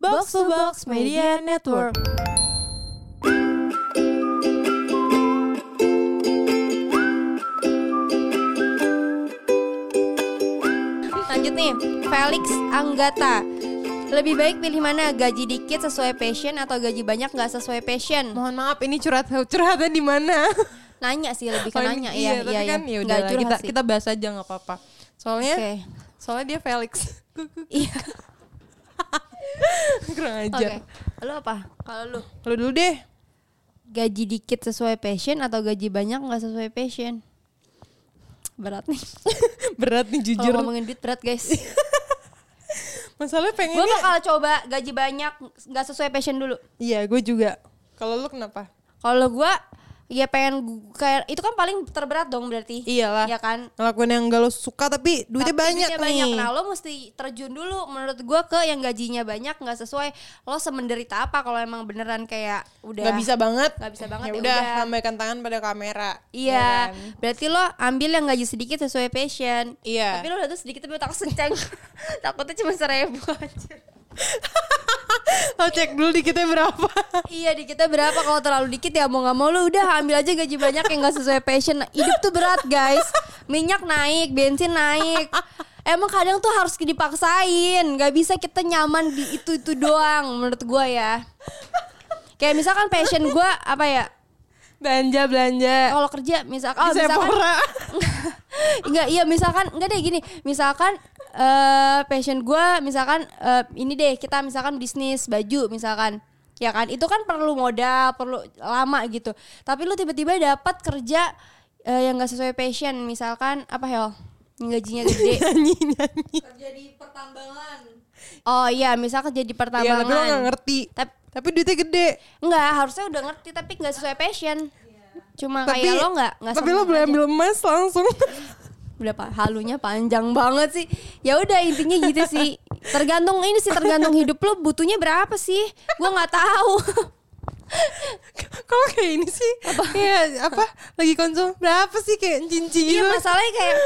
Box to Box Media Network. Lanjut nih, Felix Anggata. Lebih baik pilih mana? Gaji dikit sesuai passion atau gaji banyak nggak sesuai passion? Mohon maaf ini curhat curhatan di mana? Nanya sih lebih ke Oh, ini- nanya iya tapi iya iya. kan ya udah Nggak curhat kita sih. kita bahas aja nggak apa-apa. Soalnya Oke. soalnya dia Felix. Iya. Kurang Oke. ajar. Lu apa? Kalau lu Lu dulu deh. gaji dikit sesuai passion atau gaji banyak nggak sesuai passion? Berat nih. Berat nih jujur. Kalau ngomongin duit berat, guys. Masalahnya Gue pengennya bakal coba gaji banyak nggak sesuai passion dulu. Iya, gue juga. Kalau lu kenapa? Kalau gua ya pengen gu- kayak itu kan paling terberat dong berarti. Iyalah. Ya kan? Ngelakuin yang gak lo suka tapi duitnya Tapi banyak duitnya nih. Nah, lo mesti terjun dulu menurut gua ke yang gajinya banyak nggak sesuai lo semenderita apa kalau emang beneran kayak udah Gak bisa banget. Nggak bisa banget, Ya ya udah, udah. lambaikan tangan pada kamera. Iya, Ya kan? berarti lo ambil yang gaji sedikit sesuai passion. Iya. Tapi lo udah tuh sedikit tapi takut senceng. Takutnya cuma seribu aja. Lo cek dulu dikitnya berapa. iya, di kita berapa kalau terlalu dikit ya mau nggak mau lo udah ambil aja gaji banyak yang nggak sesuai passion. Nah, Hidup tuh berat guys. Minyak naik, bensin naik. Emang kadang tuh harus dipaksain. Gak bisa kita nyaman di itu itu doang menurut gua ya. Kayak misalkan passion gua apa ya? belanja belanja. Kalau kerja misalkan, Di oh, misalkan Sephora. Enggak, iya misalkan enggak deh gini, misalkan eh passion gua misalkan eh, ini deh kita misalkan bisnis baju misalkan ya kan itu kan perlu modal perlu lama gitu tapi lu tiba-tiba dapat kerja eh, yang gak sesuai passion misalkan apa hell Yang gajinya gede nyanyi nyanyi. oh iya misalkan jadi Iya, pertambangan tapi lo gak ngerti. Tap- Tapi duitnya gede. enggak harusnya udah ngerti tapi nggak sesuai passion cuma Tapi kayak Nah, iya, lo nggak nggak Tapi lo seneng boleh aja. ambil emas langsung. udah pak halunya panjang banget sih ya udah intinya gitu sih tergantung ini sih tergantung hidup lo butuhnya berapa sih gua nggak tahu Kalau kayak ini sih. Iya, apa? Lagi konsum. Berapa sih kayak cincin iya gitu. masalahnya kayak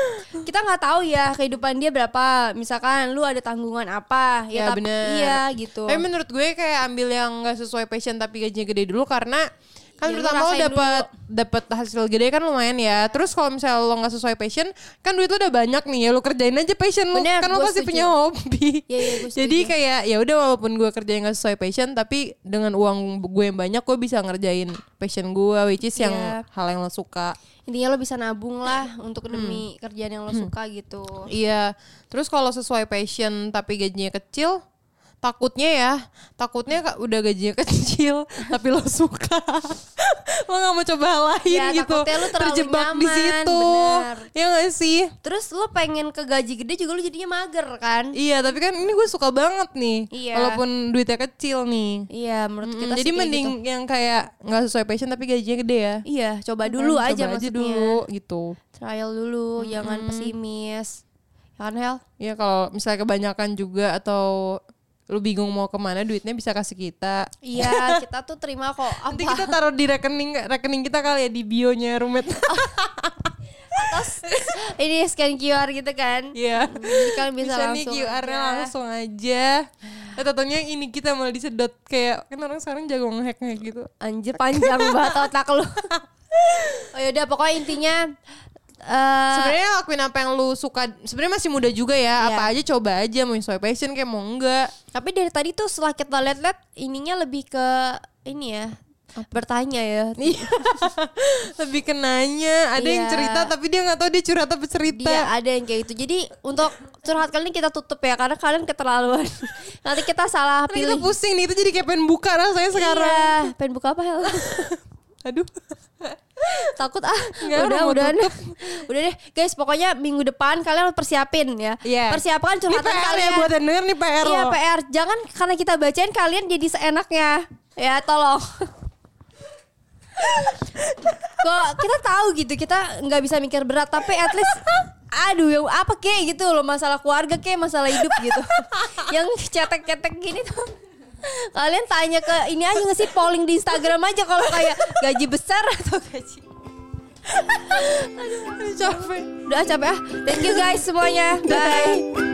kita nggak tahu ya kehidupan dia berapa misalkan lu ada tanggungan apa ya, tapi- bener. iya gitu Tapi menurut gue kayak ambil yang gak sesuai passion tapi gajinya gede dulu karena kan Ya, lu pertama lo rasain dapat dapat hasil gede kan lumayan ya. Terus kalau misalnya lo nggak sesuai passion, kan duit lo udah banyak nih ya lo kerjain aja passion lo. Bener, Kan lo gue pasti setuju. punya hobi. Iya, iya, gue Jadi setuju. kayak ya udah walaupun gue kerja yang gak sesuai passion tapi dengan uang gue yang banyak gue bisa ngerjain passion gue which is yang Iya. hal yang lo suka. intinya lo bisa nabung lah untuk Hmm. demi kerjaan yang lo suka gitu Iya. Terus kalau sesuai passion tapi gajinya kecil, takutnya ya, takutnya ka- udah gajinya kecil tapi lo suka. lo nggak mau coba hal lain Ya, gitu. takutnya lo terlalu Terjebak di nyaman, situ. bener. Ya gak sih? terus lo pengen ke gaji gede juga lo jadinya mager kan Iya, tapi kan ini gue suka banget nih. Iya. Walaupun duitnya kecil nih. iya menurut Mm, kita jadi sih kayak mending gitu. yang kayak nggak sesuai passion tapi gajinya gede ya. iya coba dulu Coba aja maksudnya dulu gitu. trial dulu jangan pesimis ya kan Hel Ya kalau misalnya kebanyakan juga atau lu bingung mau kemana duitnya bisa kasih kita. iya kita tuh terima kok Nanti apa kita taruh di rekening rekening kita kali ya di bionya roommate. ini scan QR gitu kan Iya. Jadi kalian bisa, Bisa, nih langsung Iya. QR-nya aja. langsung aja. Eh tentunya ini kita malah disedot kayak kan orang sekarang jago ngehack-ngehack gitu. anjir panjang banget otak lu oh yaudah pokoknya intinya eh, Sebenarnya lakuin apa yang lu suka. Sebenarnya masih muda juga ya. Iya. Apa aja coba aja mau sesuai passion kayak mau enggak. tapi dari tadi tuh setelah kita lihat-lihat ininya lebih ke ini ya bertanya ya Iya. Lebih kenanya, ada yang Iya. cerita tapi dia nggak tahu dia curhat apa cerita. dia ada yang kayak gitu jadi untuk curhat kali ini kita tutup ya karena kalian keterlaluan nanti kita salah Karena Kan kita pilih pusing nih, itu jadi kayak pengen buka rasanya sekarang. Iya, pengen buka apa Hel? Aduh. takut ah Nggak, udah udah mau udah udah deh guys pokoknya minggu depan kalian harus persiapin ya Iya. persiapkan Ini curhatan PR ya kalian buat yang denger nih PR iya loh. PR jangan karena kita bacain kalian jadi seenaknya ya tolong kok kita tahu gitu kita nggak bisa mikir berat tapi at least aduh yang apa kek gitu loh masalah keluarga kek masalah hidup gitu yang cetek-cetek gini tuh kalian tanya ke ini aja nggak sih polling di Instagram aja kalau kayak gaji besar atau gaji Aduh, capek. udah capek ah thank you guys semuanya bye